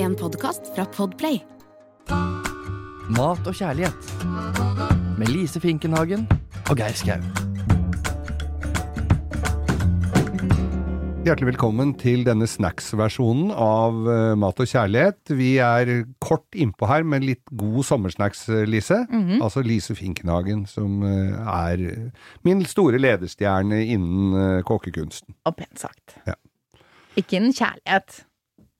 En podkast fra Podplay. Mat og kjærlighet med Lise Finkenhagen og Geir Skau. Hjertelig velkommen til denne snacks-versjonen av eh, Mat og kjærlighet. Vi er kort innpå her med litt god sommersnacks, eh, Lise. Altså Lise Finkenhagen, som eh, er min store lederstjerne innen eh, kokkekunsten. Og pent sagt. Ja. Ikke innen kjærlighet.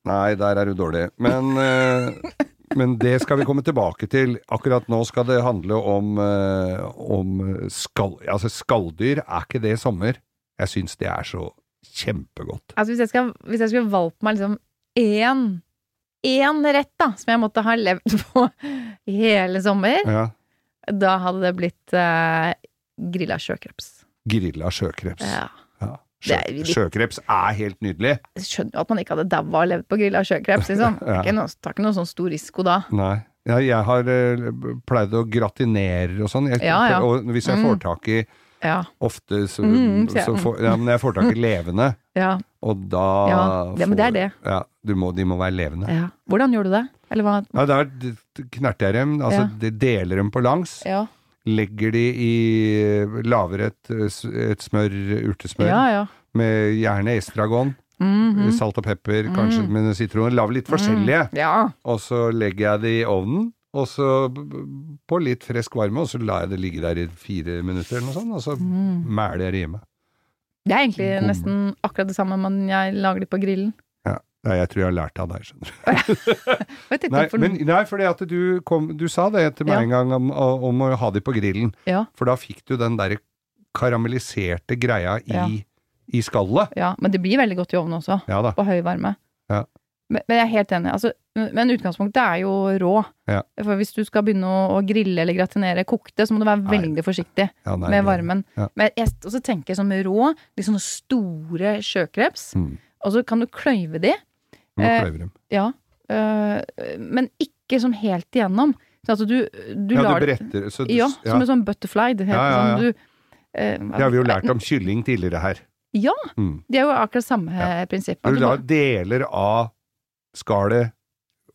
Nei, der er du dårlig. Men, eh, men det skal vi komme tilbake til. Akkurat nå skal det handle om, eh, om skall... Altså, skalldyr, er ikke det sommer? Jeg syns det er så kjempegodt. Altså, hvis jeg, skal, hvis jeg skulle valgt meg liksom én, én rett, da, som jeg måtte ha levd på i hele sommer, Ja. da hadde det blitt eh, grilla sjøkreps. Grilla sjøkreps. Ja. Ja. Det Sjø, er jo litt- sjøkreps er helt nydelig. Jeg skjønner jo at man ikke hadde daua og levd på grilla sjøkreps, liksom. Det er Ja. Ikke noe, tar ikke noe sånn stor risiko da. Nei. Ja, jeg har eh, pleid å gratinere og sånn. Jeg- Ja, ja. Og hvis jeg Mm. får tak i Ja. ofte så, Mm, ser jeg. så får, ja, men jeg får tak i levende, ja. og da Ja, det- men det er det. får- Ja, du må, de må være levende. ja. Hvordan gjorde du det? Eller hva? Ja, der d- d- knerter jeg dem, altså Ja. de deler dem på langs, Ja, legger de i Lager et, s- et smør, urtesmør, ja. ja. med gjerne estragon, Mhm. salt og pepper, kanskje Mm. med sitron. Lager litt forskjellige. Ja. og så legger jeg det i ovnen, og så b- b- på litt frisk varme, og så lar jeg det ligge der i fire minutter eller noe sånt, og så Mm. mæler jeg det hjemme. Det er egentlig God- nesten akkurat det samme, men jeg lager det på grillen. Nei, jeg tror jeg har lært det av deg, skjønner du. Vet ikke Nei, hvorfor- men, nei fordi at du, kom, du sa det til meg Ja. en gang om, om å ha de på grillen, Ja. for da fikk du den der karamelliserte greia i, Ja. i skallet. Ja, men det blir veldig godt i ovnen også, Ja da. på høy varme. Ja. Men, men jeg er helt enig. Altså, men utgangspunktet er jo rå. Ja. For hvis du skal begynne å, å grille eller gratinere kokte, så må du være Nei. veldig forsiktig Ja, nei, med det- varmen. Ja. Men jeg s- også tenker som rå, de sånne store sjøkreps, Mm. og så kan du kløyve de. Du må Eh, kløyve dem. Ja. øh, men ikke som helt igjennom. Så altså du, du Ja, lar du bretter. Så du, Ja, ja. som en sånn butterfly. Det, heter Ja, ja, sånn ja. du, øh, Det har vi jo lært om kylling tidligere her. Ja, Mm. det er jo akkurat samme Ja. prinsipp. At Du du lar bare- deler av skallet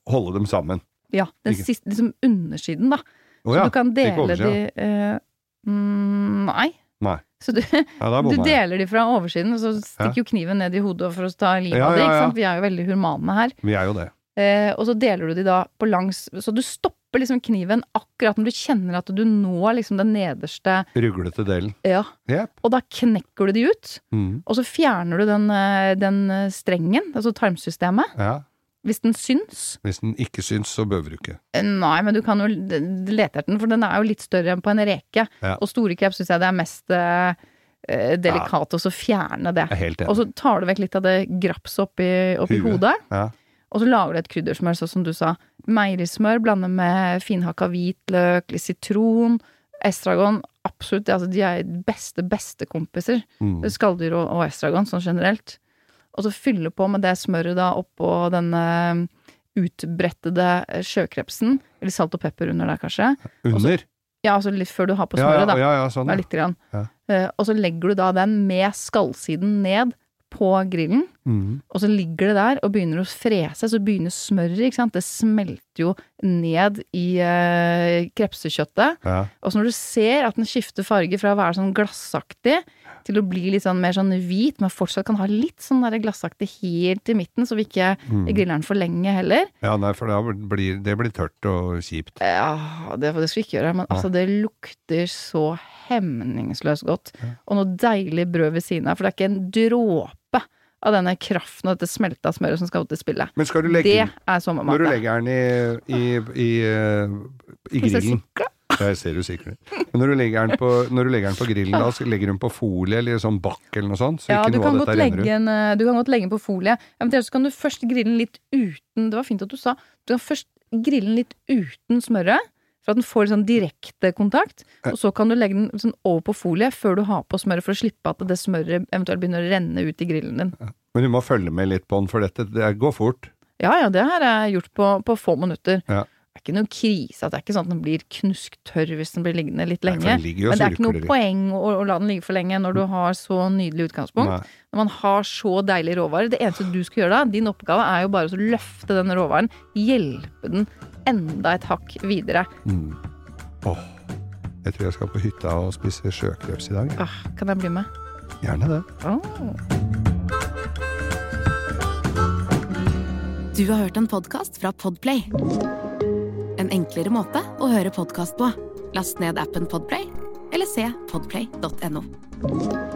holde dem sammen. Ja, den Ikke- siste, liksom undersiden, da. Å så ja. du kan ikke dele de oversiden. eh, mm, Nei. Nei. Så du, ja, da du bomma jeg. deler de fra oversiden, og så stikker jo kniven ned i hodet for å ta livet Ja, av det. ja, Ikke ja. sant? Vi er jo veldig humane her. Vi er jo det. Eh, og så deler du de da på langs Så du stopper liksom kniven akkurat når du kjenner at du når liksom den nederste Ruglete delen. Ja. Jepp. Og da knekker du de ut, Mm. og så fjerner du den, eh, den eh, strengen, altså tarmsystemet, Ja. hvis den syns. Hvis den ikke syns, så behøver du ikke. Eh, Nei, men du kan jo d- d- lete etter den, for den er jo litt større enn på en reke. Ja. Og store kreps syns jeg det er mest eh, eh, delikat også å fjerne det. Jeg er helt Og enig. så tar du vekk litt av det grapset oppi, oppi Huet. hodet, Ja. og så lager du et kryddersmør, sånn som du sa. Meierismør blander med finhakka hvitløk, litt sitron, estragon. Absolutt, det, altså, de er beste, beste kompiser. Mm. Skalldyr og, og estragon, sånn generelt. Og så fylle på med det smøret da oppå denne utbrettede eh, sjøkrepsen. Eller salt og pepper under der, kanskje. Under. Ja, altså litt før du har på Ja, smøret, ja, da. ja, ja, sånn. Bare ja. lite grann. Ja. Eh, og så legger du da den med skallsiden ned på grillen, Mm. og så ligger det der og begynner å frese, så begynner smøret, ikke sant. Det smelter jo ned i eh, krepsekjøttet. Ja. Og så når du ser at den skifter farge fra å være sånn glassaktig til å bli litt sånn mer sånn hvit, men fortsatt kan ha litt sånn der glassaktig helt i midten, så vi ikke Mm. griller den for lenge heller. ja, nei, for da blir det blir tørt og kjipt. Ja, det, det skulle vi ikke gjøre, men altså, det lukter så hemningsløst godt. Og noe deilig brød ved siden av, for det er ikke en dråpe av denne kraften og dette smelta smøret som skal ut i spillet. Men skal du legge Det den er sommermat. Når du det. legger den i, i, i, eh, i Hvis jeg grillen sikler- Jeg ser usikker ut. Men når du legger den på, når du legger den på grillen, da, så legger du den på folie eller sånn bakk eller noe sånt? Så Ja, ikke du noe av kan, godt dette renner legge ut. en, eh, du kan godt legge den på folie. Eventuelt så kan du først grille den litt uten Det var fint at du sa. Du kan først grille den litt uten smøret, for at den får litt sånn direkte kontakt. Og så kan du legge den sånn over på folie før du har på smøret, for å slippe at det smøret eventuelt begynner å renne ut i grillen din. Men du må følge med litt på den, for dette det går fort. Ja ja, det her er gjort på, på få minutter. Ja. Det er ikke noen krise. at Det er ikke sånn at den blir knusktørr hvis den blir liggende litt Nei, for lenge. den ligger jo og Men det er ikke surkler noe i. poeng å, å la den ligge for lenge når du har så nydelig utgangspunkt. Nei. Når man har så deilige råvarer. Det eneste du skal gjøre da, din oppgave er jo bare å løfte den råvaren. Hjelpe den enda et hakk videre. Mm. Åh, jeg tror jeg skal på hytta og spise sjøkreps i dag. jeg. Ah, kan jeg bli med? Gjerne det. Åh. Du har hørt en podcast fra Podplay. En enklere måte å høre podcast på. Last ned appen Podplay, eller se podplay.no.